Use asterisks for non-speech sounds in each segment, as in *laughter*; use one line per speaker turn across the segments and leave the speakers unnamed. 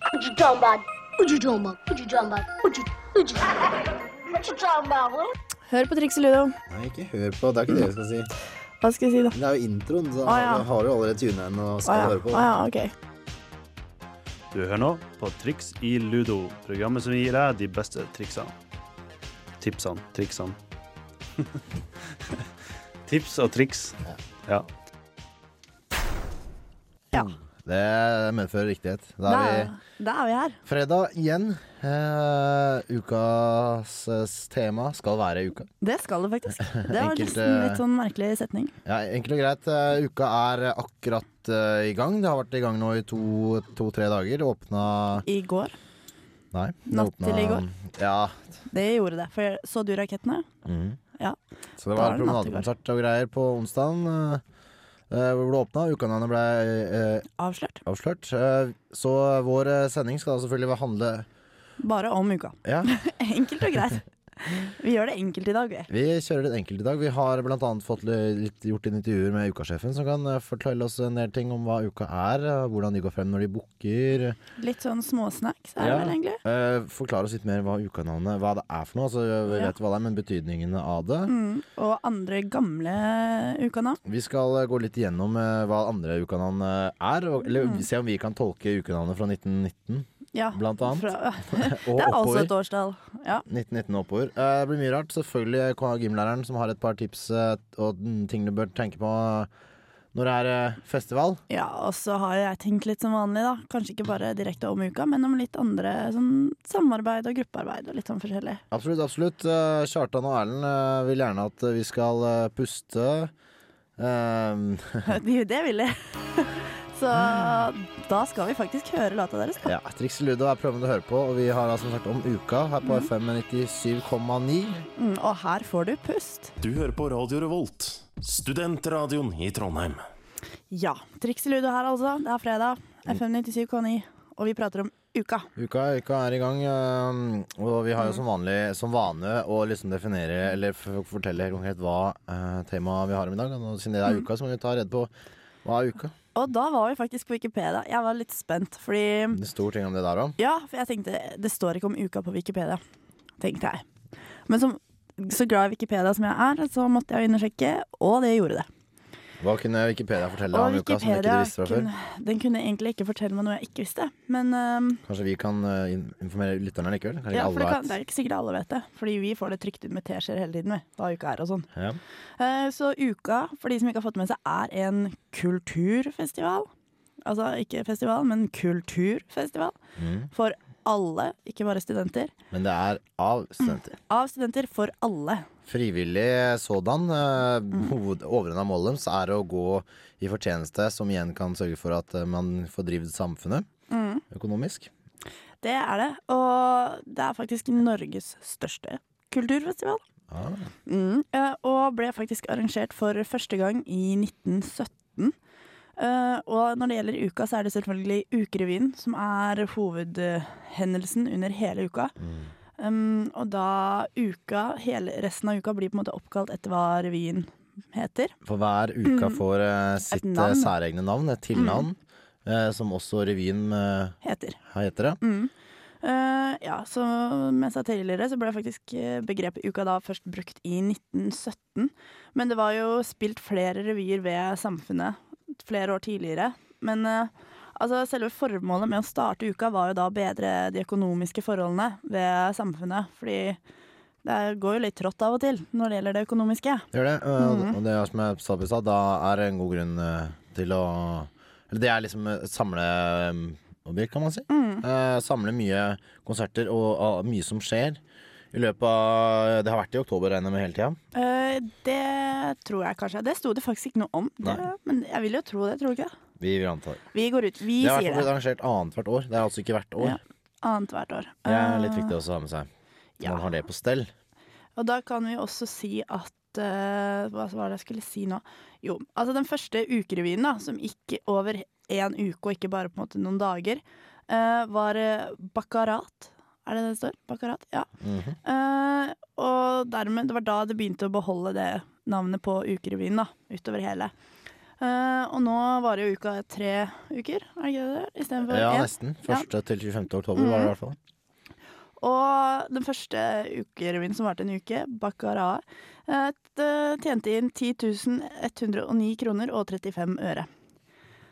What you talking about? What you talking about? What you talking about? What you, what you, what you talking about? What?
Hør på Triks i Ludo.
Nei, ikke hør på. Det er ikke det jeg skal si.
Hva skal jeg si, da?
Det er jo introen, så
Å, ja.
da har du allerede tunet inn og
Å
skal
ja.
høre på.
Å ja, ok.
Du hører nå på Triks i Ludo, programmet som gir deg de beste triksene. Tipsene, triksene. *laughs* Tips og triks. Ja.
Det medfører riktighet. Da
Da,
er vi
da er vi her.
fredag igjen. Eh, ukas eh, tema skal være uka.
Det skal det
*laughs*
faktisk. Det var
Enkelte-
nesten litt sånn merkelig setning.
Ja, Enkelt og greit. eh, uka er akkurat eh, i gang. Det har vært i gang nå i to-tre dager. Åpna
I går.
Nei. det
Natt til i
åpna- Ja.
Det gjorde det. For jeg- så du rakettene?
Mhm.
Ja.
Så det
Da er
var
det natt i
promenadekonsert og greier på onsdagen. eh, Hvor det ble åpna. Ukanavnet ble eh,
Avslørt.
avslørt. Eh, Så vår eh, sending skal da selvfølgelig handle
Bare om uka. *laughs*
Ja,
Enkelt og
*laughs*
greit. Vi gjør det enkelt i dag, vi.
Vi kjører litt enkelt i dag. Vi har bl.a. fått litt, gjort inn intervjuer med ukasjefen, som kan eh, fortelle oss en del ting om hva uka er, eh, hvordan de går frem når de booker.
Litt sånn småsnacks er det
Ja.
vel egentlig.
Eh, Forklare oss litt mer hva ukanavnet hva det er for noe. Altså, vi
Ja.
vet hva det er, men betydningene av det.
Mm. Og andre gamle ukanavn.
Vi skal eh, gå litt igjennom eh, hva andre ukanavn eh, er, og, eller
Mm.
se om vi kan tolke ukanavnet fra 1919
Ja.
Blant annet.
Fra,
og
*laughs* det er altså
oppover.
et årstall. Ja.
1919 og oppover. Eh, Det blir mye rart. Selvfølgelig kan gymlæreren som har et par tips eh, og mm, ting du bør tenke på eh, når det er eh, festival.
ja, og så har jeg tenkt litt som vanlig, da. Kanskje ikke bare direkte om uka, men om litt andre sånn samarbeid og gruppearbeid og litt sånn forskjellig.
Absolutt, absolutt. Eh, Kjartan og Erlend eh, vil gjerne at eh, vi skal eh, puste. Eh, *laughs*
Det det vil jeg. *laughs* Så da skal vi faktisk høre låta deres.
ja, Triks Ludo er prøven du hører på, og vi har da som sagt om uka her på FM 97,9.
Mm, og her får du pust.
Du hører på Radio Revolt, studentradioen i Trondheim.
Ja. Triks i ludo her, altså. Det er fredag. FM 97,9. Og vi prater om uka.
Uka, uka er i gang, eh, og vi har jo som vanlig som vane å liksom definere eller f fortelle helt konkret hva eh, temaet vi har om i dag. Og nå, siden det er uka, så må vi ta redd på hva er uka.
Og da var vi faktisk på Wikipedia. Jeg var litt spent, fordi
Det står ting om det der òg.
Ja, for jeg tenkte det står ikke om uka på Wikipedia, tenkte jeg. Men som, så glad i Wikipedia som jeg er, så måtte jeg undersøke, og det gjorde det.
Hva kunne Wikipedia fortelle
og
om uka som ikke du visste fra før?
kunne, den kunne egentlig ikke fortelle meg noe jeg ikke visste. Men øhm,
Kanskje vi kan eh, in- informere lytterne likevel? Kanskje
ja,
ikke
for det,
alle
kan,
vet.
det er ikke sikkert alle vet det. Fordi vi får det trykt ut med teskjeer hele tiden, vi, hva uka er og sånn.
Ja.
Eh, Så uka, for de som ikke har fått med seg, er en kulturfestival. Altså ikke festival, men kulturfestival.
Mm.
For alle, ikke bare studenter.
Men det er av studenter.
Av studenter for alle.
Frivillig sådan. eh, Hoved, overordna målet deres er å gå i fortjeneste, som igjen kan sørge for at eh, man får drevet samfunnet
Mm.
økonomisk.
Det er det. Og det er faktisk Norges største kulturfestival.
Ah.
Mm, eh, og ble faktisk arrangert for første gang i 1917. Eh, og når det gjelder uka, så er det selvfølgelig Ukerevyen som er hovedhendelsen under hele uka. Um, og da uka, hele resten av uka, blir på en måte oppkalt etter hva revyen heter.
For hver uke får eh, sitt eh,
Mm. navn. Mm.
særegne navn, et tilnavn, eh, som også revyen eh,
heter.
heter det.
Mm. Eh, ja, så som jeg sa tidligere, så ble faktisk eh, begrepet uka da først brukt i 1917. Men det var jo spilt flere revyer ved Samfunnet flere år tidligere. Men eh, altså, selve formålet med å starte uka var jo da å bedre de økonomiske forholdene ved samfunnet. Fordi det går jo litt trått av og til når det gjelder det økonomiske.
Gjør det. Eh, Og,
Mm.
og det er som jeg sa på stad, da er det en god grunn eh, til å Eller det er liksom et samleobjekt, kan man si.
Mm.
Eh, samle mye konserter og, og mye som skjer. I løpet av Det har vært i oktober, regner jeg med, hele tida.
Eh, det tror jeg kanskje. Det sto det faktisk ikke noe om. Det,
Nei.
men jeg vil jo tro det, tror du ikke? det?
Vi vil anta det.
Vi går ut. Vi
Det har
sier
i hvert fall
det.
blitt arrangert annethvert år. Det er altså ikke hvert år.
Ja. Annet hvert år.
Det er
Eh,
litt viktig også å ha med seg.
ja.
Man har det på stell.
Og da kan vi også si at eh, Hva var det jeg skulle si nå? Jo, altså den første ukerevyen, da, som gikk over én uke og ikke bare på en måte noen dager, eh, var eh, Baccarat. Er det det det står? Baccarat? Ja.
Mhm.
Eh, og dermed, det var da det begynte å beholde det navnet på ukerevyen, da, utover hele. Eh, og nå varer jo uka tre uker, er det ikke det? Istedenfor
Ja,
én.
nesten. 1. til 25. oktober var
Mm.
det i hvert fall.
Og den første ukerevyen som varte en uke, Baccarat, eh, t- eh, tjente inn 10.109 kroner og 35 øre.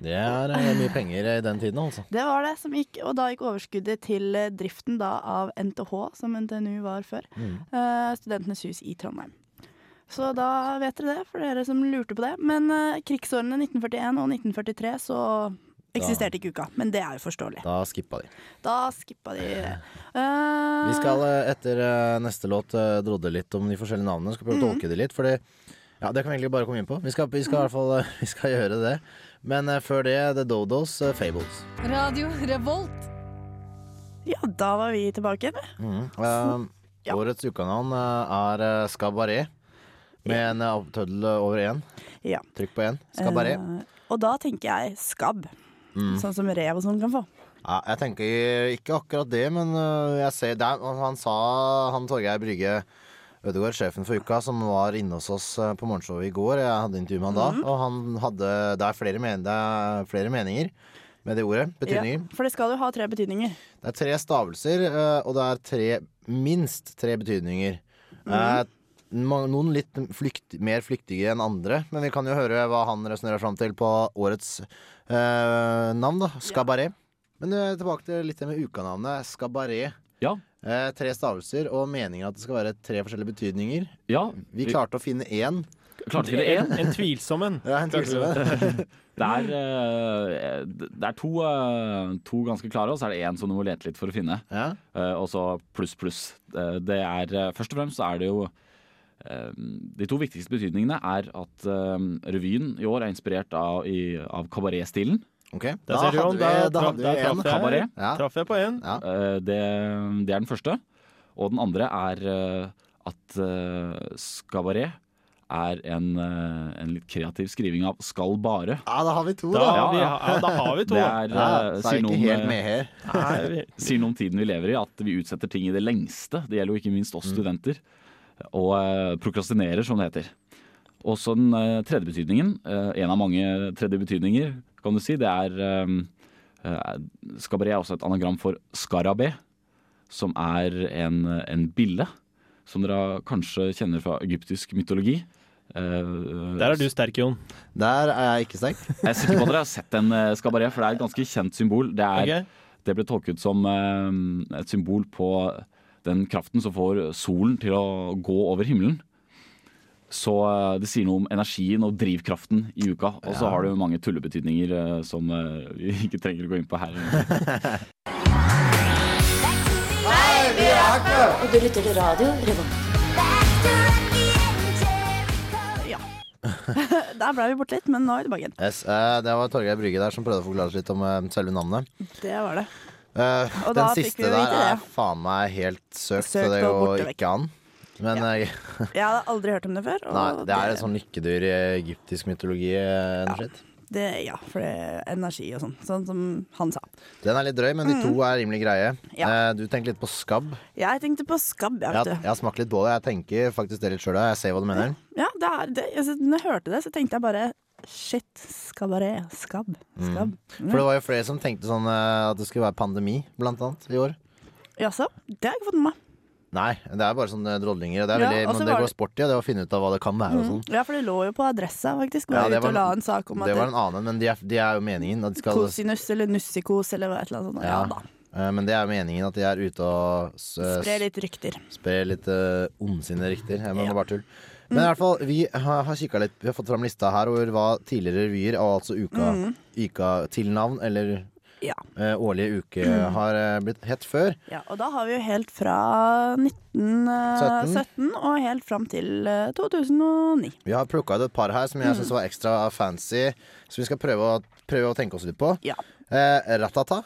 Det er eh, mye penger i den tiden, altså.
Det var det som gikk, og da gikk overskuddet til eh, driften da av NTH, som NTNU var før,
Mm.
eh, Studentenes hus i Trondheim. Så da vet dere det, for dere som lurte på det. Men eh, krigsårene 1941 og 1943 så eksisterte ikke uka, men det er jo forståelig.
Da skippa de.
Da skippa
*laughs*
de eh, det. Ah.
Vi skal eh, etter eh, neste låt eh, drodle litt om de forskjellige navnene. Skal prøve å tolke de litt, fordi ja, Det kan vi egentlig bare komme inn på. Vi skal, vi skal i hvert fall eh, *laughs* vi skal gjøre det. Men eh, før det, The Dodos, eh, Fables.
Radio Revolt.
Ja, da var vi tilbake. eller?
Eh, Årets ukanavn eh, er eh, Skabaret, med en eh, opptøddel over én.
Ja.
Trykk på én. Skabaret.
Eh, og da tenker jeg skabb.
Mm.
Sånn som rev og sånn kan få.
Ja, jeg tenker ikke akkurat det, men øh, jeg ser det er, Han sa, han Torgeir Brygge Ødegaard, sjefen for uka, som var inne hos oss øh, på morgenshowet i går. Jeg hadde intervju med han da, og han hadde Det er flere, men, det er flere meninger med det ordet. Betydninger.
Ja, for det skal jo ha tre betydninger.
Det er tre stavelser, eh, og det er tre, minst tre betydninger. Eh, ma- Noen litt flykt, mer flyktige enn andre, men vi kan jo høre hva han resonnerer fram til på årets eh, navn, da. Skabaret. Men eh, tilbake til litt det med ukanavnet. Skabaret.
Ja.
Eh, tre stavelser og meningen at det skal være tre forskjellige betydninger.
Ja,
Vi klarte å finne én.
klarte ikke det én.
En tvilsom en.
Ja, en tvilsom
Det er, eh, det er to, eh, to ganske klare, og så er det én som du må lete litt for å finne.
Ja.
Eh, og så pluss, pluss. Eh, Det er eh, Først og fremst så er det jo eh, De to viktigste betydningene er at eh, revyen i år er inspirert av, i- av kabaretstilen.
Ok,
Der
da
ser du,
hadde
Ron,
vi,
der
da
tra-
hadde
der
vi
traff
én.
jeg.
Kabaret.
Ja.
Traff jeg på en?
Eh, Det, det er den første. Og den andre er eh, at eh, skabaret er en, eh, en litt kreativ skriving av 'skal bare'.
Ja, da har vi to,
Da,
da.
har vi,
ja.
ja, da har vi to.
Det er,
Ja,
eh,
så er
sier
vi
noe
ikke
om,
helt
eh, *laughs*
med her.
Nei, vi-
sier noe om tiden vi lever i, at vi utsetter ting i det lengste. Det gjelder jo ikke minst
Mm.
oss studenter. Og eh, prokrastinerer, som det heter. Og så den eh, tredje betydningen, eh, en av mange tredje betydninger, kan du si, det er eh, eh, Skabaré er også et anagram for skarabé, som er en, en bille. Som dere kanskje kjenner fra egyptisk mytologi. Eh,
Der er du sterk, Jon.
Der er jeg ikke sterk.
Jeg er sikker på at dere har sett en eh, skabaré, for det er et ganske kjent symbol. Det er
Ok?
det ble tolket som eh, et symbol på den kraften som får solen til å gå over himmelen. Så eh, det sier noe om energien og drivkraften i uka. Og så har det jo mange tullebetydninger eh, som eh, vi ikke trenger å gå inn på her.
Og du lytter til radio Revolt.
Der ble vi borte litt, men nå er vi tilbake igjen.
Yes, eh, det var Torgeir Brygge der som prøvde å forklare oss litt om eh, selve navnet.
Det var det.
*laughs* Eh,
Og
den
da fikk
siste
vi jo
der
vite
er
det.
faen meg helt søkt, så
Søkt
det
og
går
borte vekk.
ikke an. Men eh,
Jeg hadde aldri hørt om det før. og
nei, det er et sånn lykkedyr i egyptisk mytologi. eh, en skitt.
det- Ja, for det er energi og sånn. Sånn som han sa.
Den er litt drøy, men de to er rimelig greie.
Mm. Ja.
Eh, du tenker litt på skabb.
Jeg tenkte på skabb, jeg,
Jeg,
vet
har-
du.
jeg har smakt litt på det. Jeg tenker faktisk det litt sjøl. Jeg ser hva du mener.
Ja, det er det. Altså, når jeg hørte det, så tenkte jeg bare shit, skabaret, skabb, skabb. Mm.
For det var jo flere som tenkte sånn eh, at det skulle være pandemi, blant annet, i år.
Jaså, det har jeg ikke fått med meg.
Nei, det er bare sånne drodlinger. og Det, er
Ja,
veldig,
og så
men det
var det-
går
Mm.
sport i og det å finne ut av hva det kan være. og sånn.
Ja, for det lå jo på adressa, faktisk.
Ja,
Var
det
ute
var
og
en-
la en sak om at
Det var en annen, men de er, de er jo meningen. At de skal,
kosinus eller nussikos eller et eller annet sånt. Ja,
Ja.
da.
Eh, Men det er jo meningen at de er ute og s-
Spre litt rykter.
sprer litt eh, ondsinne rykter. Jeg mener
Ja. Mm.
bare tull. Men i hvert fall, vi har, har kikket litt Vi har fått fram lista her over hva tidligere revyer, og altså uka,
Mm.
uka til navn, eller
Ja.
eh, årlige uke,
Mm.
har eh, blitt hett før.
Ja, og da har vi jo helt fra 1917 og helt fram til eh, 2009.
Vi har plukka ut et par her som jeg
Mm.
synes var ekstra fancy, så vi skal prøve å, prøve å tenke oss litt på.
Ja.
Eh, Ratata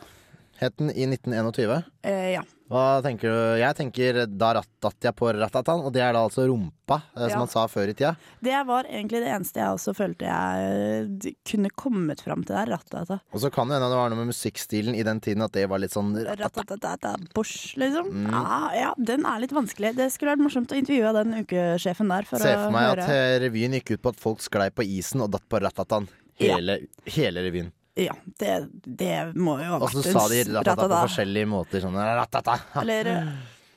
het den i 1921.
Eh, ja.
Hva tenker du? Jeg tenker da rattat jeg på ratatan, og det er da altså rumpa, eh,
Ja.
som man sa før i tida.
Det var egentlig det eneste jeg også følte jeg d- kunne kommet fram til der. Ratata.
Og så kan det hende det var noe med musikkstilen i den tiden at det var litt sånn
Ratatata, Bosch, liksom.
Mm.
Ah, ja, den er litt vanskelig. Det skulle vært morsomt å intervjue den ukesjefen der. For
Se
å
for meg at
høre.
eh, revyen gikk ut på at folk sklei på isen og datt på ratatan. Hele, hele revyen.
Ja, det, det må jo ha
Og
vært
så
en
sa de
s-
ratata på
ratata.
forskjellige måter. Sånn ratata.
Eller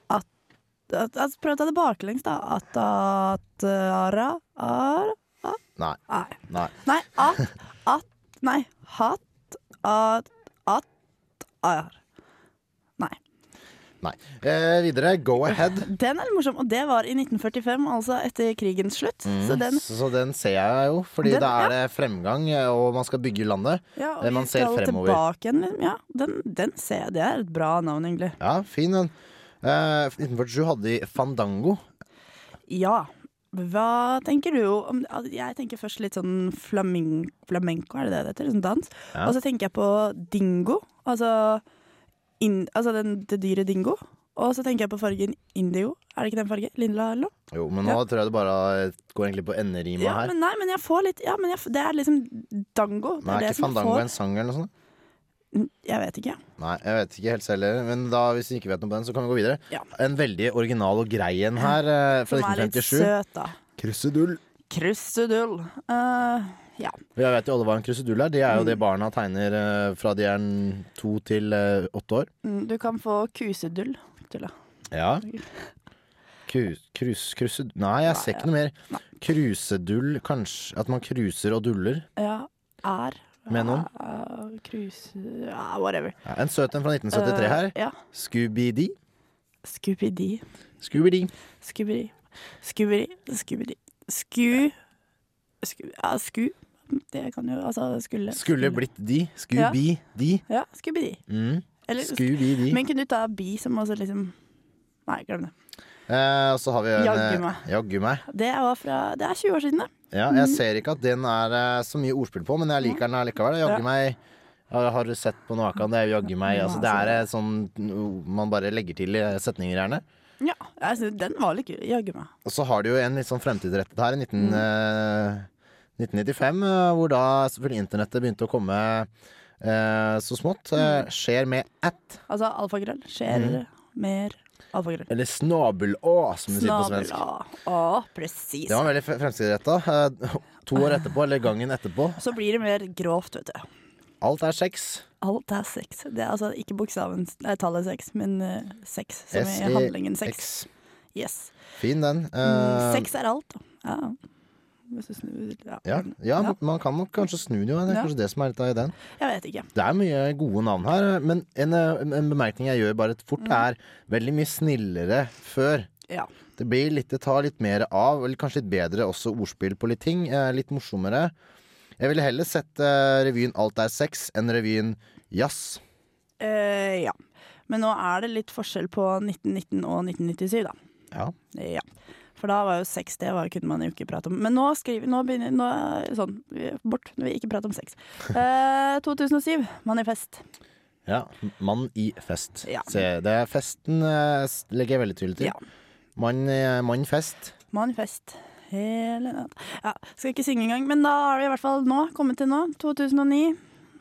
at, at, at Prøv å ta det baklengs, da. At at ara, ara
Nei.
Nei.
nei.
Nei, at at Nei. Hatt at at ar. Nei.
nei. Eh, videre. Go ahead.
Den er litt morsom, og det var i 1945, altså etter krigens slutt. *laughs*
Mm.
Så den
Så, så den ser jeg jo, fordi
Den-
da er det fremgang, eh, og man skal bygge landet.
ja, og
Det man
vi
ser
skal
fremover.
tilbake igjen, liksom. Ja, den, den ser jeg. Det er et bra navn, egentlig.
Ja, fin den. Eh, 1947 hadde de Fandango.
Ja. Hva tenker du om altså, Jeg tenker først litt sånn flamin- flamenco, er det det det heter? Sånn dans.
Ja.
Og så tenker jeg på dingo. Altså, in, altså den, det dyret dingo. Og så tenker jeg på fargen indigo. Er det ikke den fargen? Lilla eller noe?
Jo, men nå tror jeg det bare går egentlig på enderima
Ja,
her.
men nei, men jeg får litt Ja, men jeg, f- det er liksom dango. Det
Nei,
er
er
det
ikke
som jeg
Fandango
får. Mm,
en sang eller noe sånt?
Jeg vet ikke.
Nei, jeg vet ikke helt selv heller. Men da, hvis vi ikke vet noe på den, så kan vi gå videre.
Ja.
En veldig original og grei en her, eh, fra
Som er litt
1957.
søt, da.
Krusedull.
Krusedull. Eh, ja.
Jeg vet jo alle hva en krusedull er. Det er
Mm.
jo det barna tegner eh, fra de er n- to til eh, åtte år.
Mm, Du kan få kusedull. Tulla.
Ja. Krus, krus, krusedull Nei, jeg ser
Nei,
ikke noe mer. Krusedull, kanskje. At man kruser og duller
Ja, er
med noen.
Eh, Kruse... Ja, whatever.
Ja, en søt en fra 1973 her.
Eh, ja.
Scooby-Dee.
Scooby-Dee.
Scooby-Dee.
Scooby-Dee. Scooby-Dee. Scooby-Dee. Sku... Sku... Ja, sku... Det kan jo Altså, skulle
Skulle blitt de. Scooby-Dee.
Ja, Scooby-Dee.
Mm.
Eller
Scooby-Dee.
Men kunne du ta bi som også liksom Nei, glem det.
Eh, og så har vi en
Jaggu
eh,
meg.
Jaggu meg.
Det var fra Det er 20 år siden, det.
Ja, jeg
Mm.
ser ikke at den er eh, så mye ordspill på, men jeg liker den allikevel. Jaggu
Ja.
meg. Ja, Har du sett på Noakan? Det er jo jaggu meg.
Ja,
Altså, det er eh, sånn mm, man bare legger til eh, setninger, gjerne.
Ja, jeg synes den var litt kul. Jaggu meg.
Og så har du jo en litt sånn fremtidsrettet her i 19,
Mm.
eh, 1995, eh, hvor da selvfølgelig internettet begynte å komme eh, så smått. Eh,
Mm.
skjer med at,
Altså alfakrøll. Skjer
Mhm.
mer alfakrøll.
eller snabel-å, som vi sier på
Snabel
svensk.
A. Å, presis.
Det var veldig fre- fremtidsretta. Eh, To år etterpå, eller gangen etterpå.
Så blir det mer grovt, vet du.
Alt er sex.
Alt er sex. Det er altså ikke bokstaven nei, tallet sex, men eh, sex som
E
i handlingen sex.
S-E-X.
Yes.
Fin den.
Mm,
Eh,
sex er alt. Ja. Hvis du snur ja.
Ja, ja,
Ja.
man kan nok kanskje snu det jo. Det er
Ja.
kanskje det som er litt av ideen.
Jeg vet ikke.
Det er mye gode navn her, men en, eh, en bemerkning jeg gjør bare fort,
Mm.
er veldig mye snillere før.
Ja.
Det blir litt, det tar litt mer av, eller kanskje litt bedre også ordspill på litt ting. eh, Litt morsommere. Jeg ville heller sett eh, revyen Alt er sex enn revyen Jazz.
Eh, ja. Men nå er det litt forskjell på 1919 og 1997, da.
Ja.
Ja. For da var jo sex, det var, kunne man jo ikke prate om. Men nå skriver Nå begynner nå, Sånn, vi- bort. Vi ikke prate om
*laughs*
sex. Eh, 2007, Manifest.
Ja, Mann i fest.
Ja.
Se, det er festen eh, s- legger jeg veldig tydelig til.
Ja.
Mann, eh, mann fest.
Manifest. Hele natt. Ja, skal ikke synge engang, men da har vi i hvert fall nå kommet til nå. 2009.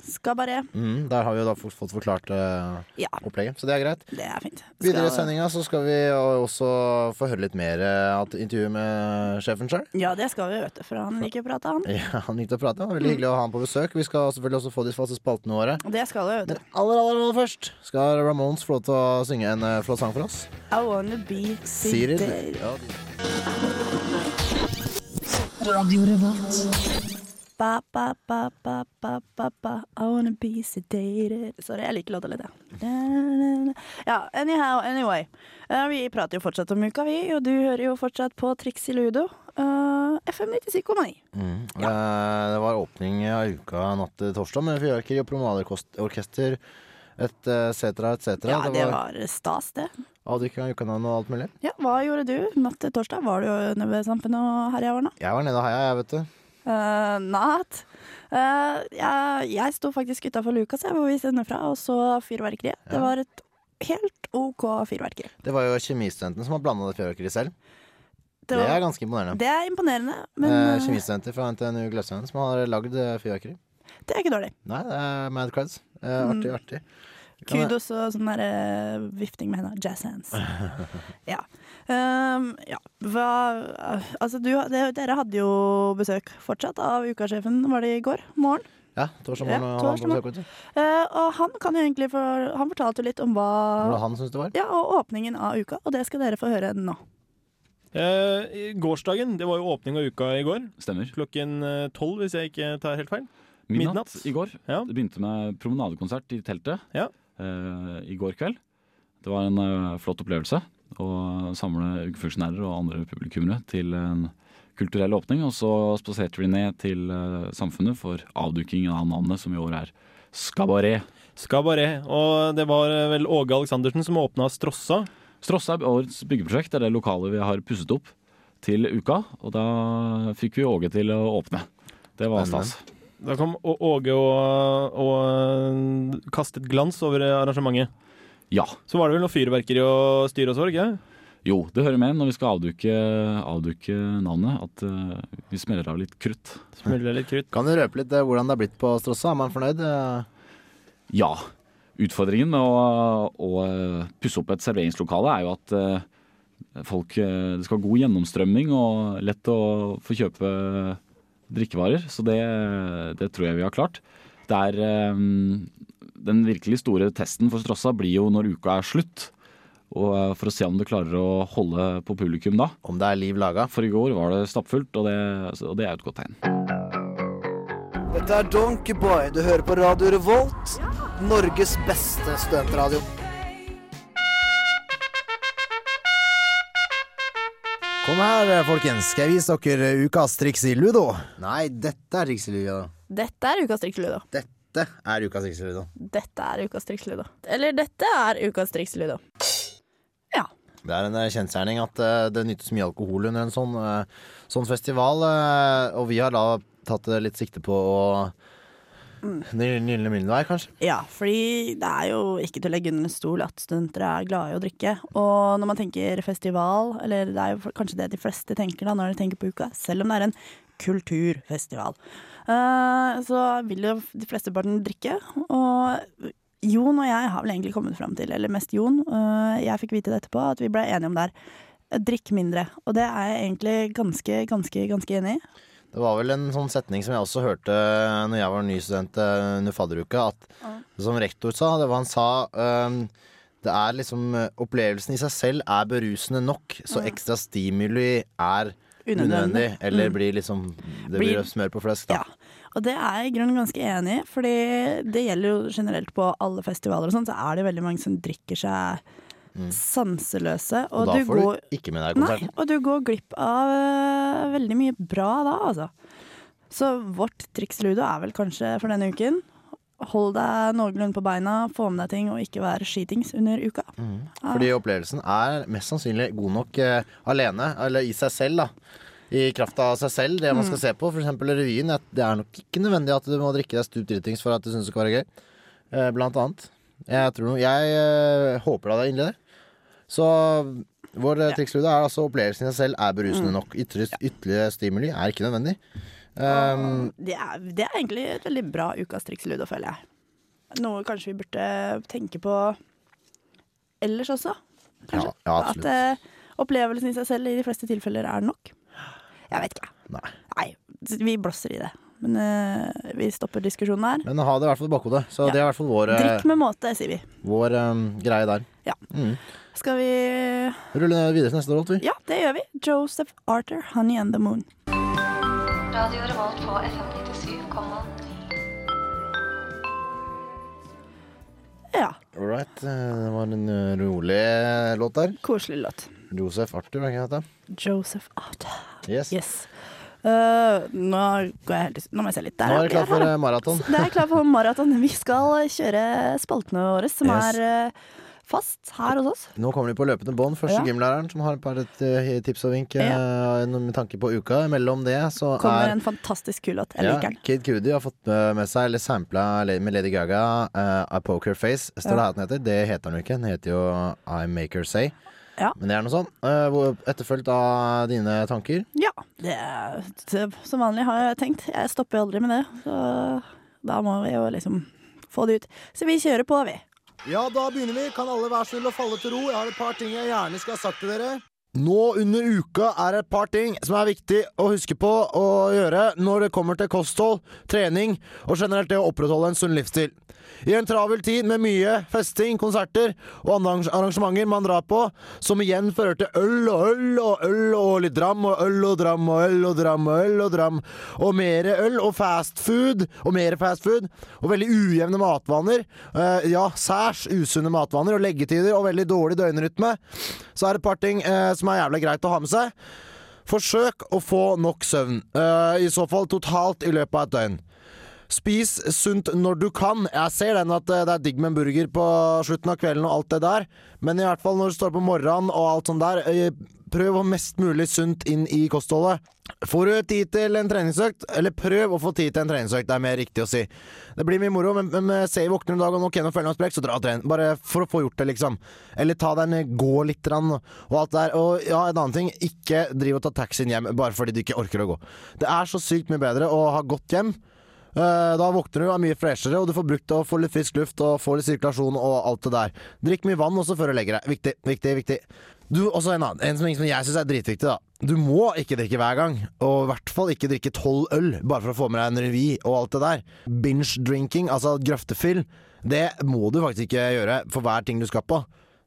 Skabaret.
Mm, der har vi jo da fått fått forklart eh,
Ja,
opplegget, så det er greit.
det er fint. Skal-
Videre i sendinga så skal vi eh, også få høre litt mer av et intervju med sjefen sjøl.
Ja, det skal vi, vet du, for han liker å prate, han.
*laughs* Ja, han likte å prate. Det var Veldig hyggelig å ha han på besøk. Vi skal selvfølgelig også få de faste spaltene våre.
Det skal vi, vet
Men
du.
aller, aller, aller først skal Ramones få lov til å synge en eh, flott sang for oss.
I wanna be
Sier de.
seated.
Ja,
Ba, ba, ba, ba, ba, ba, ba. I wanna be sedated. Sorry, jeg liker låta litt, jeg. Da, da, da. Ja, anyhow, anyway. Eh, vi prater jo fortsatt om uka, vi, og du hører jo fortsatt på Triks i Ludo. Eh, FM 97,9.
Eh, Det var åpning av uka natt til torsdag med fyrverkeri og promenadeorkester eh, etc., etc.
Ja, det var stas, det.
avdukking av ukanavn og alt mulig.
Ja, Hva gjorde du natt til torsdag? Var du nede ved Samfunnet og herja årene?
Jeg var nede og heia, jeg, vet du.
Uh, natt. Eh, jeg, jeg sto faktisk utafor luka, se, hvor vi sender fra, og så fyrverkeriet. Det var et helt OK fyrverkeri.
Det var jo kjemistudentene som har blanda det fyrverkeriet selv.
Det,
det
var,
er ganske imponerende.
det er imponerende, men
Eh,
eh,
Kjemistudenter fra NTNU Gløshaugen som har lagd eh, fyrverkeri.
det er ikke dårlig.
Nei, det er mad creds. Eh, artig, artig.
Kudos og sånn der eh, vifting med hendene. Jazz
*laughs*
hands. Ja. Ehm, ja. Hva Altså, du, det- dere hadde jo besøk fortsatt av ukasjefen, var det i går morgen?
Ja, torsdag
Ja,
morgen. og
torsdag
han var på besøk, vet du.
Eh, og han kan jo egentlig for, Han fortalte jo litt om
Hvordan var det
hva
han syntes det var?
Ja, og åpningen av uka, og det skal dere få høre nå.
Eh, i gårsdagen, det var jo åpning av uka i går.
Stemmer.
Klokken eh, tolv, hvis jeg ikke tar helt feil.
Midnatt,
Midnatt.
i går.
Ja.
Det begynte med promenadekonsert i teltet
Ja.
eh, i går kveld. Det var en eh, flott opplevelse å samle funksjonærer og andre publikummere til en kulturell åpning. Og så spaserte vi ned til eh, Samfunnet for avduking av navnet, som i år er Skabaret.
Skabaret. Og det var eh, vel Åge Aleksandersen som åpna Strossa.
Strossa er årets byggeprosjekt, det er det lokalet vi har pusset opp til uka. Og da fikk vi Åge til å åpne. Det var
Spennende.
stas.
Da kom Å- Åge og, og eh, kastet glans over arrangementet.
Ja.
Så var det vel noe fyrverkeri og styr og sorg, ja?
Jo, det hører med når vi skal avduke, avduke navnet, at eh, vi smeller av litt krutt.
Smuldra litt krutt.
Kan du røpe litt eh, hvordan det er blitt på Strossa? Er man fornøyd? Eh,
Ja. Utfordringen med å, å pusse opp et serveringslokale er jo at eh, folk eh, Det skal være god gjennomstrømming og lett å få kjøpe drikkevarer. Så det, det tror jeg vi har klart. Det er eh, Den virkelig store testen for Strossa blir jo når uka er slutt. Og eh, for å se om du klarer å holde på publikum da.
Om det er liv laga?
For i går var det stappfullt, og det, og det er jo et godt tegn.
Dette er Donkeyboy. Du hører på Radio Revolt, Norges beste studentradio.
Kom her, eh, folkens. Skal jeg vise dere eh, ukas triks i ludo?
Nei, dette er trikseluga, da.
Dette er ukas triksludo.
Dette er ukas triks i ludo.
Dette er ukas triksludo. Eller dette er ukas triksludo.
Det er en eh, kjensgjerning at eh, det nyttes mye alkohol under en sånn, eh, sånn festival. eh, Og vi har da tatt eh, litt sikte på å Den gylne middelvei, kanskje?
Ja, fordi det er jo ikke til å legge under en stol at studenter er glade i å drikke. Og når man tenker festival, eller det er jo kanskje det de fleste tenker da når de tenker på uka, selv om det er en kulturfestival, eh, så vil jo de fleste barn drikke. Og Jon og jeg har vel egentlig kommet fram til, eller mest Jon, eh, jeg fikk vite det etterpå, at vi ble enige om det her. Drikk mindre. Og det er jeg egentlig ganske, ganske, ganske enig i.
Det var vel en sånn setning som jeg også hørte eh, når jeg var ny student eh, under fadderuka, at som rektor sa, det var han sa ehm, det er liksom eh, Opplevelsen i seg selv er berusende nok, så ekstra stimuli er unødvendig. Eller blir liksom
Mm.
Det
Blir-
blir smør på flesk, da.
Ja, og det er jeg i grunnen ganske enig i, fordi det gjelder jo generelt på alle festivaler og sånn, så er det veldig mange som drikker seg sanseløse.
Mm. Og,
Og,
da
du
får
går,
du ikke med deg
nei,
konserten.
og du går glipp av eh, veldig mye bra da, altså. Så vårt triks Ludo er vel kanskje for denne uken. Hold deg noenlunde på beina, få med deg ting og ikke være skitings under uka. Ah.
Fordi opplevelsen er mest sannsynlig god nok eh, alene, eller i seg selv, da. I kraft av seg selv, det
Mm.
man skal se på. For eksempel revyen. at Det er nok ikke nødvendig at du må drikke deg stup dritings for at du syns det skal være gøy. Eh, Blant annet. Jeg, tror noe, jeg eh, håper da det er inderlig det. Så vår eh, trikslude er altså opplevelsen i seg selv er
Mm.
berusende nok. Ytre, ytterligere stimuli er ikke nødvendig. Um,
Det er, det er egentlig et veldig bra ukas triks Ludo, føler jeg. Noe kanskje vi burde tenke på ellers også.
ja, ja,
At
absolutt.
eh, opplevelsen i seg selv i de fleste tilfeller er nok. Jeg vet ikke.
Nei.
Nei, vi blåser i det. Men eh, vi stopper diskusjonen her.
Men ha det i hvert fall i bakhodet. Så
Ja.
det er i hvert fall vår, eh,
Drikk med måte, sier vi.
vår eh, greie der.
Skal vi
Rulle videre til neste låt, vi.
Ja, det gjør vi. Joseph Arthur, 'Honey and the Moon'.
Radio Revolt på FM 97,9.
Ja,
All right. eh, Det var en eh, rolig låt der.
koselig låt.
Josef Arthur, hva heter det?
Joseph Arthur.
Yes.
Yes. Eh, nå går jeg helt i- Nå må jeg se litt. Der,
Nå
ja,
er det
der har
klart for
jeg-
eh, maraton.
Det er klart for maraton. Vi skal kjøre spaltene våre, som
Yes.
er eh, fast her hos oss.
Nå kommer de på løpende bånd.
Ja.
Første gymlæreren som har et par eh, tips og vink eh, med tanke på uka. Mellom det så
Kommer
er
en fantastisk kul låt. Jeg
ja,
liker den.
Kid Cudi har fått eh, med seg, eller sampla le- med Lady Gaga, eh, A Poker Face. Står det her at den heter? Det heter den jo ikke. Den heter jo I Make Her Say.
Ja.
Men det er noe sånn. Eh, hvor- Etterfulgt av dine tanker.
Ja, det, er- det, som vanlig har jeg tenkt. Jeg stopper jo aldri med det. Så da må vi jo liksom få det ut. Så vi kjører på, vi.
Ja, da begynner vi. Kan alle være snille og falle til ro? Jeg har et par ting jeg gjerne skulle ha sagt til dere. Nå under uka er det et par ting som er viktig å huske på å gjøre når det kommer til kosthold, trening og generelt det å opprettholde en sunn livsstil. I en travel tid med mye festing, konserter og andre arrange- arrangementer man drar på, som igjen fører til øl og øl og øl og litt dram og øl og dram og øl og dram og øl og dram og mer øl og fast food og mer fast food og veldig ujevne matvaner, eh, ja, særs usunne matvaner og leggetider og veldig dårlig døgnrytme, så er det et par ting eh, som er jævlig greit å ha med seg. Forsøk å få nok søvn, eh, i så fall totalt i løpet av et døgn. Spis sunt når du kan. Jeg ser den at eh, det er digg med en burger på slutten av kvelden og alt det der, men i hvert fall når du står opp om morgenen og alt sånt der, eh, prøv å ha mest mulig sunt inn i kostholdet. Får du tid til en treningsøkt, eller prøv å få tid til en treningsøkt, det er mer riktig å si. Det blir mye moro, men, men eh, se i våkner en dag og nå kjenner følelsen sprekk, så dra og tren. Bare for å få gjort det, liksom. Eller ta deg en eh, gå litt grann, og alt det der. Og ja, en annen ting, ikke driv og ta taxien hjem bare fordi du ikke orker å gå. Det er så sykt mye bedre å ha gått hjem. Eh, Da våkner du og er mye freshere, og du får brukt det og får litt frisk luft og får litt sirkulasjon og alt det der. Drikk mye vann også før du legger deg. Viktig, viktig, viktig. Du, også en annen, en som, som jeg syns er dritviktig, da. Du må ikke drikke hver gang, og i hvert fall ikke drikke tolv øl bare for å få med deg en revy og alt det der. Binge-drinking, altså grøftefyll, det må du faktisk ikke gjøre for hver ting du skal på.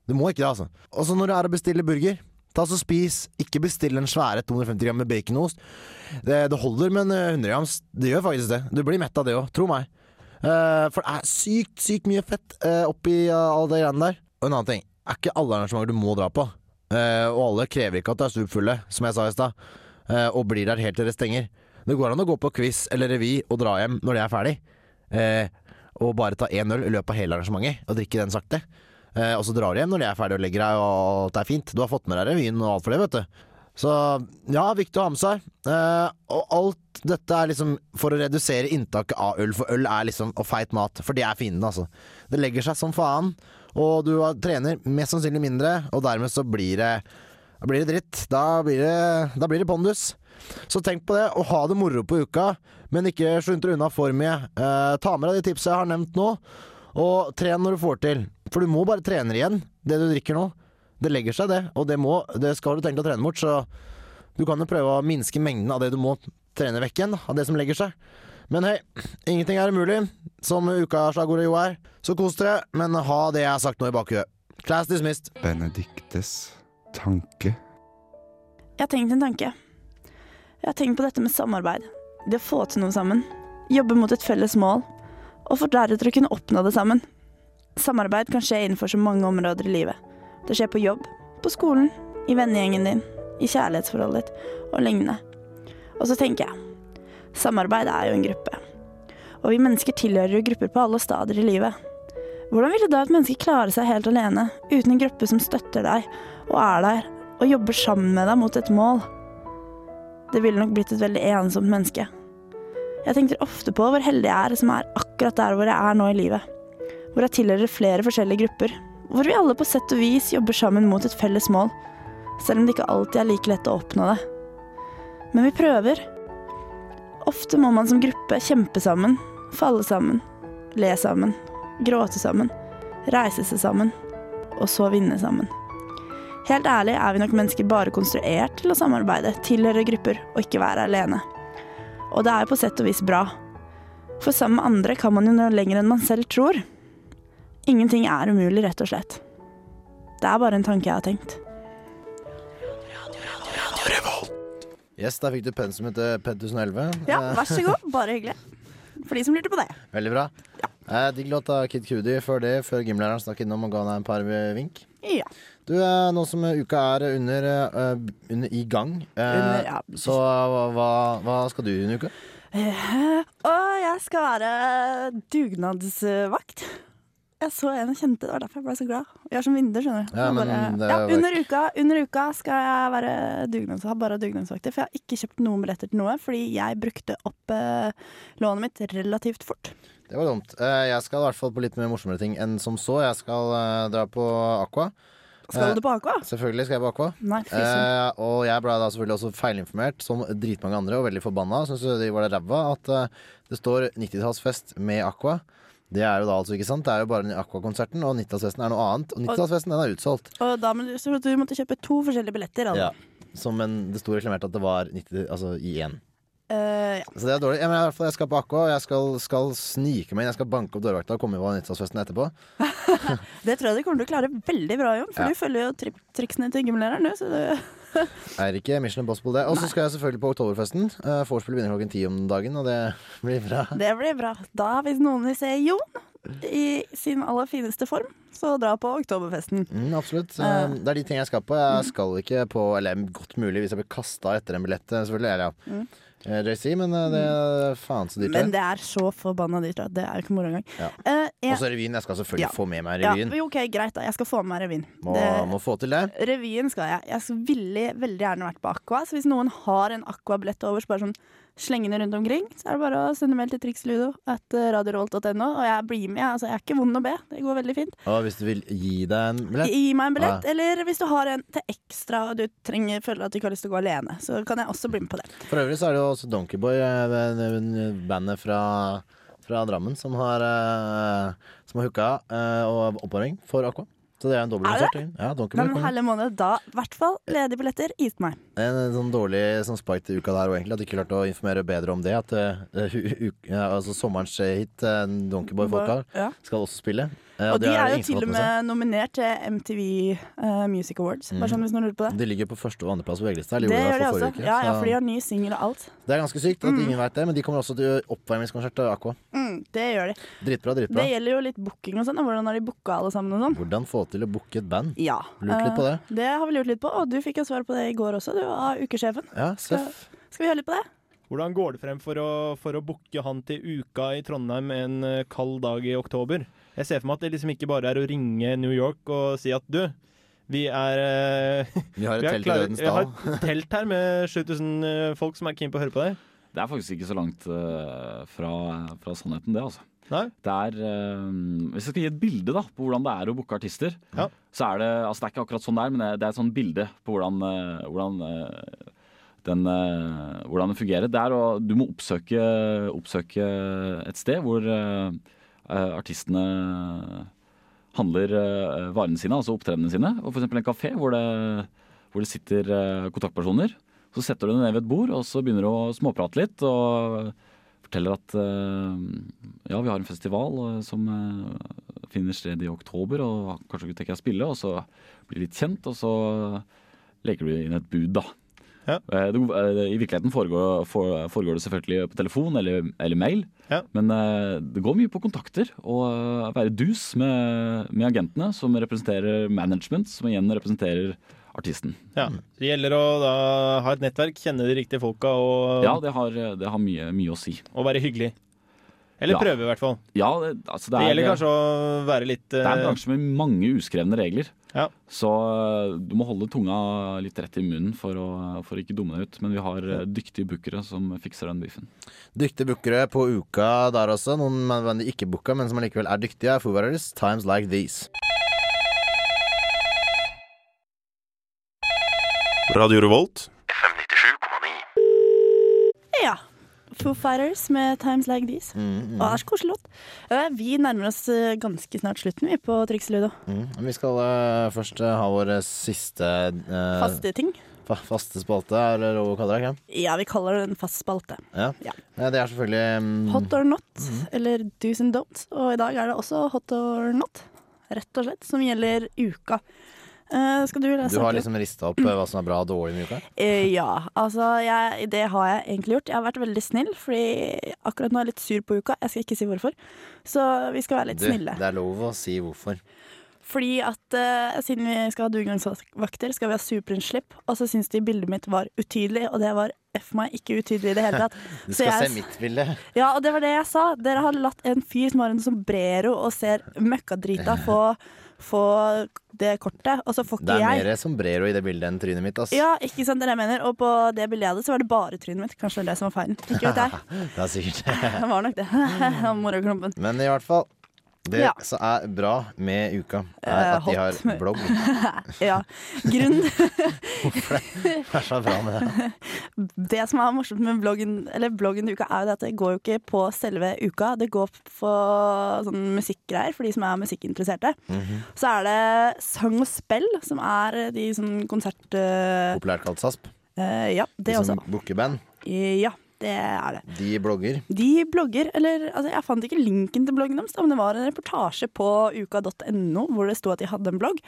Du må ikke det, altså. Og så når du er og bestiller burger, Ta så spis, ikke bestill den svære 250 gram med baconost. Det, det holder med en eh, 100 grams, det gjør faktisk det. Du blir mett av det òg, tro meg. Eh, for det er sykt, sykt mye fett eh, oppi eh, alle de greiene der. Og en annen ting, er ikke alle arrangementer du må dra på. Eh, og alle krever ikke at du er stupfulle, som jeg sa i stad, eh, og blir der helt til det stenger. Det går an å gå på quiz eller revy og dra hjem når det er ferdig. Eh, og bare ta én øl i løpet av hele arrangementet og drikke den sakte. Eh, og så drar du hjem når de er ferdige og legger deg, og alt er fint. Du har fått med deg revyen og alt for det, vet du. Så ja, viktig å ha med seg. Eh, og alt dette er liksom for å redusere inntaket av øl, for øl er liksom og feit mat. For det er fienden, altså. Det legger seg som faen, og du har- trener mest sannsynlig mindre, og dermed så blir det da blir det dritt. Da blir det, da blir det pondus. Så tenk på det, og ha det moro på uka, men ikke sluntre unna for mye. Eh, ta med deg de tipsa jeg har nevnt nå, og tren når du får til. For du må bare trene igjen det du drikker nå. Det legger seg, det, og det, må, det skal du tenke å trene bort, så du kan jo prøve å minske mengden av det du må trene vekk igjen, da, av det som legger seg. Men hei, ingenting er umulig, som ukaslagordet jo er. Så kos dere, men ha det jeg har sagt nå i bakhuet. Class dismissed.
Benediktes tanke.
Jeg har tenkt en tanke. Jeg har tenkt på dette med samarbeid. Det å få til noe sammen. Jobbe mot et felles mål. Og for deretter å kunne oppnå det sammen. Samarbeid kan skje innenfor så mange områder i livet. Det skjer på jobb, på skolen, i vennegjengen din, i kjærlighetsforholdet ditt og lignende. Og så tenker jeg samarbeid er jo en gruppe. Og vi mennesker tilhører jo grupper på alle stadier i livet. Hvordan ville da et menneske klare seg helt alene, uten en gruppe som støtter deg og er der og jobber sammen med deg mot et mål? Det ville nok blitt et veldig ensomt menneske. Jeg tenker ofte på hvor heldig jeg er som er akkurat der hvor jeg er nå i livet. Hvor jeg tilhører flere forskjellige grupper. Hvor vi alle på sett og vis jobber sammen mot et felles mål. Selv om det ikke alltid er like lett å oppnå det. Men vi prøver. Ofte må man som gruppe kjempe sammen, falle sammen, le sammen, gråte sammen, reise seg sammen, og så vinne sammen. Helt ærlig er vi nok mennesker bare konstruert til å samarbeide, tilhøre grupper og ikke være alene. Og det er jo på sett og vis bra. For sammen med andre kan man jo nå lenger enn man selv tror. Ingenting er umulig, rett og slett. Det er bare en tanke jeg har tenkt.
Yes, der fikk du pensumet til PED 1011.
Ja, vær så god. Bare hyggelig. For de som lurte på det.
Veldig bra. Eh, Digg låt av Kid Cudi før det, før gymlæreren snakk innom og ga deg en par eh, vink.
Ja.
Du, eh, nå som eh, uka er under, eh, under i gang, eh,
Under, ja.
så hva, hva, hva skal du i en uke?
Eh, Og jeg skal være dugnadsvakt. Jeg så en jeg kjente, det var derfor jeg ble så glad. Jeg har sånn vindu, skjønner du.
Ja,
Så
men
bare-
det er
ja,
jo
under, uka, under uka skal jeg være dugnads, ha bare dugnadsvakter, for jeg har ikke kjøpt noen billetter til noe, fordi jeg brukte opp eh, lånet mitt relativt fort.
Det var dumt. Eh, jeg skal i hvert fall på litt mer morsommere ting enn som så. Jeg skal eh, dra på Aqua.
Skal
Eh,
du på Aqua?
Selvfølgelig skal jeg på Aqua.
Nei, *laughs* fy søren.
Eh, og jeg ble da selvfølgelig også feilinformert, som dritmange andre, og veldig forbanna. Syns de var det ræva at eh, det står 90-tallsfest med Aqua. Det er jo da altså, ikke sant? Det er jo bare Aqua-konserten, og Nittdalsfesten er noe annet. Og Nittdalsfesten, den er utsolgt.
Og da må du, så du måtte kjøpe to forskjellige billetter. Altså.
Ja. Som en, det sto reklamert at det var 90, altså i én.
Eh, ja.
Så det er dårlig. Ja, men i hvert fall, jeg skal på Aqua, og jeg skal, skal snike meg inn. Jeg skal banke opp dørvakta og komme på Nittdalsfesten etterpå.
Det tror jeg du kommer til å klare veldig bra, Jon, for
Ja.
du følger jo tri triksene til gymlæreren. du, Så det,
Er ikke Mission Impossible det. Og så skal jeg selvfølgelig på Oktoberfesten. Eh, Vorspiel begynner klokken ti om dagen, og det *laughs* blir bra.
det blir bra. Da, hvis noen vil se Jon i sin aller fineste form, så dra på Oktoberfesten.
Mm, absolutt. Eh, Det er de tingene jeg skal på.
Mm.
Jeg skal ikke på Eller godt mulig hvis jeg blir kasta etter en billett, eh, selvfølgelig. Eller, ja.
Mm.
Eh, JC, men eh, det er faen så dyrt
Men det er så forbanna dyrt. da. Det er jo ikke moro engang.
Ja.
Eh, jeg-
Og så revyen. Jeg skal selvfølgelig
Ja.
få med meg
Ja,
revyen.
jo, ok, Greit, da. Jeg skal få med meg revyen.
Må,
Det-
må få til det.
Revyen skal jeg. Jeg skulle veldig, veldig gjerne vært på Aqua. Så hvis noen har en Aqua-billett over, så bare sånn slenge den rundt omkring, så er det bare å sende mail til triksludo at eh, radiorolt.no, og jeg blir med. jeg. Altså, jeg er ikke vond å be. Det går veldig fint.
Og hvis du vil gi deg en billett
Gi meg en billett,
Ja.
eller hvis du har en til ekstra og du trenger, føler at du ikke har lyst til å gå alene, så kan jeg også bli med på det.
For øvrig så er det jo også Donkeyboy, eh, ben- bandet fra, fra Drammen, som har, eh, som har hooka eh, og oppvarming for Aqua. Så det er en dobbel
Er det?
konsert. Ja, Donkeyboy
Men
kommer.
hele måned, da, i hvert fall ledige billetter, gi til meg.
En sånn dårlig sånn spike til uka der òg, egentlig. At de ikke klarte å informere bedre om det. At eh, u- u- ja, altså sommerens hit, eh, Donkeyboy Folka,
Ja.
skal også spille. Eh,
Og de
det
er
det
jo
ingen som
til og
har fått med
med
seg.
nominert til MTV eh, Music Awards, bare
Mm.
sånn hvis noen lurer på det.
De ligger på første og andreplass på VG-lista.
Det
eller
gjør
gjorde i
de
hvert fall
også.
forrige uke,
Ja, ja,
så-
for de har ny singel og alt.
Det er ganske sykt at
Mm.
ingen vet det, men de kommer også til oppvarmingskonsert til Aqua.
Mm, det gjør de.
Dritbra, dritbra.
Det gjelder jo litt booking og sånn. og Hvordan har de booka alle sammen og sånn?
Hvordan få til å booke et band.
Ja.
Lurt litt på det.
Eh, Det har vi lurt litt på, og du fikk jo svar på det i går også, du av ukesjefen.
Ja,
Skal, skal vi høre litt på det?
Hvordan går det frem for å, for å booke han til uka i Trondheim en eh, kald dag i oktober? Jeg ser for meg at det liksom ikke bare er å ringe New York og si at du, vi
*laughs*
er eh,
Vi har et telt i Rødens
Vi har
Dal."
et telt her med 7000 eh, folk som er keen på å høre på deg.
Det er faktisk ikke så langt eh, fra, fra sannheten, det, altså.
Nei.
Det er, eh, hvis jeg skal gi et bilde da, på hvordan det er å booke artister, så er det altså det er ikke akkurat sånn der, men det er- det er et sånt bilde på hvordan, eh, hvordan, eh, den, eh, hvordan det fungerer. Det er å, du må oppsøke, oppsøke et sted hvor eh, eh, artistene handler eh, varene sine, altså opptredenene sine. Og for eksempel en kafé hvor det, hvor det sitter eh, kontaktpersoner. Så setter du deg ned ved et bord, og så begynner du å småprate litt. og forteller at eh, ja, vi har en festival eh, som eh, finner sted i oktober, og kanskje ikke tenker jeg å spille, og så blir litt kjent, og så eh, leker du inn et bud, da. Eh, det, eh, I virkeligheten foregår, fore- foregår det selvfølgelig på telefon eller, eller mail, men eh, det går mye på kontakter, og eh, være dus med, med agentene, som representerer management, som igjen representerer artisten.
Ja. Så Det gjelder å da ha et nettverk, kjenne de riktige folka og,
Ja, det har, det har mye, mye å si.
og være hyggelig. Eller
Ja.
prøve, i hvert fall.
Ja, det, altså det
Det,
er
gjelder kanskje å være litt
Det er en
eh,
bransje med mange uskrevne regler.
Ja.
Så eh, du må holde tunga litt rett i munnen for å, for å ikke dumme deg ut. Men vi har eh, dyktige bookere som fikser den biffen.
Dyktige bookere på uka der også. Noen man de ikke booka, men som allikevel er dyktige, er Foo Fighters, Times Like These.
Radio Revolt.
Ja. Foo Fighters med Times Like These.
Mm, mm.
Å, det er så koselig låt. Eh, Vi nærmer oss eh, ganske snart slutten, vi, på Triksludo.
Mm. Vi skal eh, først eh, ha vår eh, siste eh,
Faste ting.
fa faste spalte, er det lov å kalle det? ikke?
Ja, vi kaller det en fast spalte.
Ja.
Ja.
Eh, Det er selvfølgelig mm,
Hot or not, eller do's and don'ts. Og i dag er det også hot or not, rett og slett, som gjelder uka. Eh, skal du lese
Du har
opp-
liksom rista opp eh, hva som er bra og dårlig med uka?
Eh, ja, altså jeg, det har jeg egentlig gjort. Jeg har vært veldig snill, fordi akkurat nå er jeg litt sur på uka. Jeg skal ikke si hvorfor. Så vi skal være litt
Du,
snille.
det er lov å si hvorfor.
Fordi at eh, siden vi skal ha dugnadsvakter, skal vi ha superinnslipp. Og så syns de bildet mitt var utydelig, og det var f meg ikke utydelig i det hele tatt.
*laughs* Du
Så
skal
jeg-
se mitt bilde.
Ja, og det var det jeg sa. Dere har latt en fyr som har en sombrero og ser
*laughs*
møkkadrita få, få det kortet, og så får
Det
ikke
er
jeg.
mer sombrero i det bildet enn trynet mitt, ass.
Ja, ikke sant, det er det jeg mener. Og på det bildet jeg hadde, så var det bare trynet mitt. Kanskje det var det
*laughs*
som var feilen. Ikke vet jeg.
det er sikkert
*laughs* Det var nok det. Moroklumpen.
Men i hvert fall. Det
Ja.
som er bra med uka, er
Eh,
at de har
hot *laughs* med-
blogg.
ja. Grunn
Det er så bra med det.
Det som er morsomt med bloggen Eller bloggen til uka, er jo det at det går jo ikke på selve uka. Det går på sånn musikkgreier for de som er musikkinteresserte.
Mhm.
Så er det sang og spell, som er de sånn konsert... eh,
Populært kalt SASP.
eh, ja,
De
det også.
som booker band,
Ja, det er det.
de blogger.
De blogger, eller altså jeg fant ikke linken til bloggen deres, da, men det var en reportasje på uka.no hvor det sto at de hadde en blogg.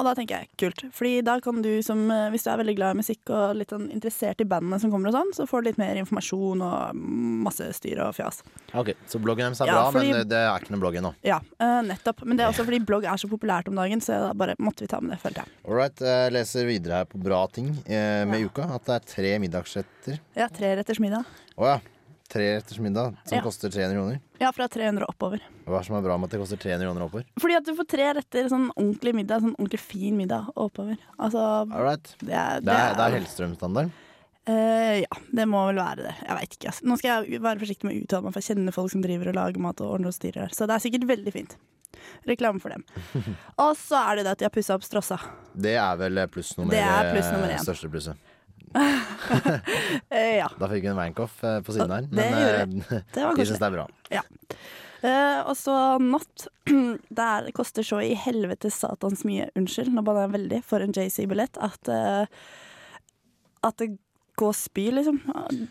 Og da tenker jeg kult, Fordi da kan du som, eh, hvis du er veldig glad i musikk og litt sånn interessert i bandene som kommer og sånn, så får du litt mer informasjon og masse styr og fjas.
Ok, Så bloggen deres er
Ja,
bra,
fordi-
men det er ikke noe blogg ennå.
Ja, eh, nettopp. Men det er også fordi blogg er så populært om dagen, så da bare måtte vi ta med det, følte jeg.
All right, jeg leser videre her på bra ting eh, med uka. At det er tre middagsretter.
Ja, tre retters middag.
Å ja. Tre retters middag som
Ja.
koster 300 kroner.
Ja, fra 300 og oppover.
Hva er det som er bra med at det koster 300 kroner oppover?
Fordi at du får tre retter, sånn ordentlig middag, sånn ordentlig fin middag og oppover. Altså,
All right.
det er,
Det er, det er Hellstrøm-standard.
Eh, ja, det må vel være det. Jeg veit ikke. Altså. Nå skal jeg være forsiktig med å uttale meg, for jeg kjenner folk som driver og lager mat og ordner og styrer her. Så det er sikkert veldig fint. Reklame for dem. Og så er det det at de har pussa opp Strossa.
Det er vel eh, pluss nummer,
Det er pluss nummer
eh,
én.
største plusset.
Eh, ja.
Da fikk hun Weinkoff eh, på siden her,
det
men
gjorde
eh, *laughs*
Det var
vi syns det er bra.
Eh, og så natt. *clears throat* Der koster så i helvete satans mye, unnskyld, nå banner jeg veldig, for en JC-billett at eh, At det går spy, liksom.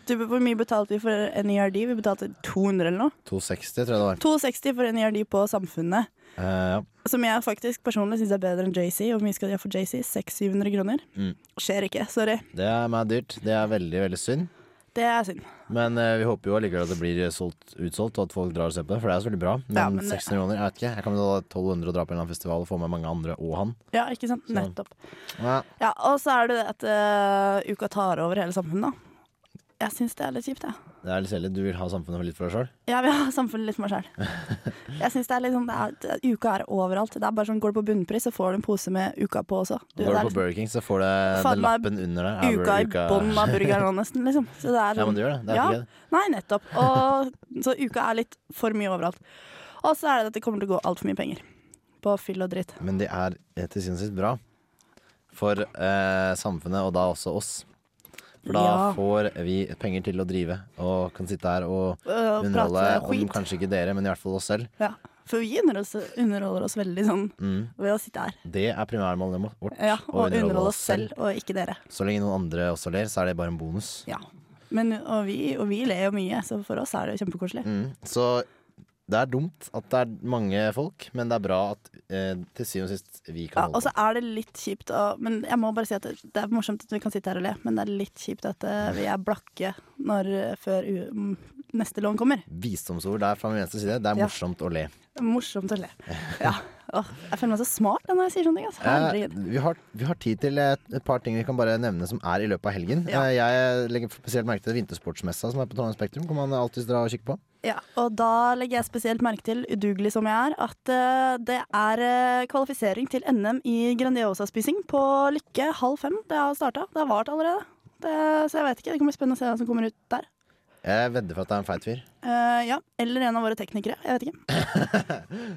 Du, hvor mye betalte vi for NERD? Vi betalte 200 eller noe.
260, tror jeg det var.
260 for NERD på Samfunnet.
Eh, ja.
Som jeg faktisk personlig syns er bedre enn JC. Hvor mye skal de ha for JC? 600-700 kroner?
Mm.
Skjer ikke, sorry.
Det er meg dyrt. Det er veldig, veldig synd.
Det er synd.
Men eh, vi håper jo allikevel at det blir solgt, utsolgt, og at folk drar og ser på det. For det er så veldig bra. Men,
Ja, men det-
600 kroner, jeg vet ikke. Jeg kan betale 1200 og dra på en eller annen festival og få med mange andre og han.
Ja, ikke sant?
Så-
Nettopp.
Ja.
Ja, Og så er det det at eh, uka tar over hele samfunnet, da. Jeg syns det er litt kjipt, jeg.
Det er litt kjedelig. Du vil ha samfunnet litt for deg sjøl?
Jeg vil ha samfunnet litt for meg sjøl. Jeg synes det er litt sånn, det er, det er, uka er overalt. Det er bare sånn, Går du på bunnpris, så får du en pose med uka på også. Du, det
Går du
er
på Burger King, så får du
Faen
den
meg,
lappen under der. Er
liksom uka i bånn av burgeren nå, nesten. Liksom. Så det er,
Ja, men
sånn-
det gjør det. Det er
ja.
ikke det.
Nei, nettopp. Og, så uka er litt for mye overalt. Og så er det at det kommer til å gå altfor mye penger på fyll og dritt.
Men det er eh, til syvende og sist bra for eh, samfunnet, og da også oss. For da
Ja.
får vi penger til å drive, og kan sitte her og
Øh,
underholde
prate
om
skit.
kanskje ikke dere, men i hvert fall oss selv.
Ja. For vi underholder oss, underholder oss veldig sånn
Mm.
ved å sitte her.
Det er primærmålet vårt.
Ja,
å
og underholde oss selv, og ikke dere.
Så lenge noen andre også ler, så er det bare en bonus.
Ja. Men, og, vi, og vi ler jo mye, så for oss er det jo kjempekoselig.
Mm. Så det er dumt at det er mange folk, men det er bra at eh, til syvende og sist
Ja,
vi
altså-
kan
og
holde
så er det litt kjipt å Men jeg må bare si at det, det er morsomt at vi kan sitte her og le, men det er litt kjipt at eh, vi er blakke når, eh, før u, m, neste lån kommer.
Visdomsord der fra min venstre side. Det er
Ja.
morsomt å le.
Det er Morsomt å le. Ja. Åh, jeg føler meg så smart når jeg sier sånne ting. Altså.
Eh,
Herregud.
vi, har, vi har tid til et, et par ting vi kan bare nevne som er i løpet av helgen.
Ja.
Eh, jeg legger spesielt merke til vintersportsmessa som er på Trondheim Spektrum. Kan man alltid dra og kikke på.
Ja, og da legger jeg spesielt merke til, udugelig som jeg er, at eh, det er eh, kvalifisering til NM i Grandiosa-spising på Lykke halv fem. Det har starta. Det har vart allerede. Det, så jeg vet ikke. Det kommer spennende å se hva som kommer ut der.
Jeg vedder for at det er en feit fyr. *laughs*
Eh, ja, eller en av våre teknikere. Jeg vet ikke.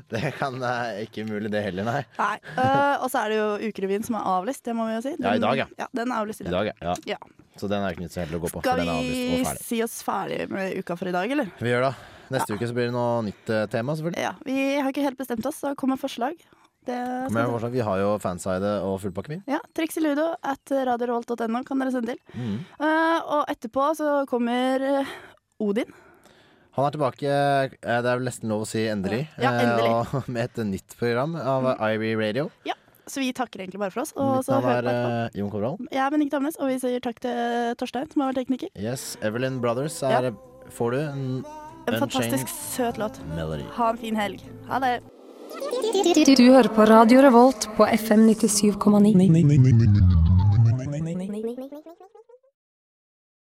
Det kan eh, ikke umulig det heller, nei.
Nei. øh, og så er det jo Ukerevyen som er avlyst, det må vi jo si.
Ja, i dag, ja.
den er avlyst i
I
dag.
dag, ja.
Ja.
Så den er ikke nytt så heldig å gå på. for
Skal
den er avlyst og
vi
ferdig.
si oss ferdig med uka for i dag, eller?
Vi gjør det. Neste uke så blir det noe nytt eh, tema, selvfølgelig.
Ja, Vi har ikke helt bestemt oss, så kom med forslag. Det skal
Men
vi-
fortsatt, vi har jo fanside og fullpakke, vi.
ja, Trixiludo at radiorevolt.no kan dere sende til.
Mm.
Eh, og etterpå så kommer eh, Odin.
Han er tilbake, eh, det er vel nesten lov å si endelig,
Ja, ja, endelig.
eh, og *laughs* med et nytt program av IRI Radio.
Så vi takker egentlig bare for oss. Og
Mitt
så
navn
hører vi
er
på.
eh, Jon Kovral.
Jeg er Benedicte Amnes, og vi sier takk til Torstein, som har vært tekniker.
Yes, Evelyn Brothers er, får du en,
En fantastisk
Unchained
søt låt.
Melody.
Ha en fin helg. Ha det.
Du hører på Radio Revolt på FM 97,9.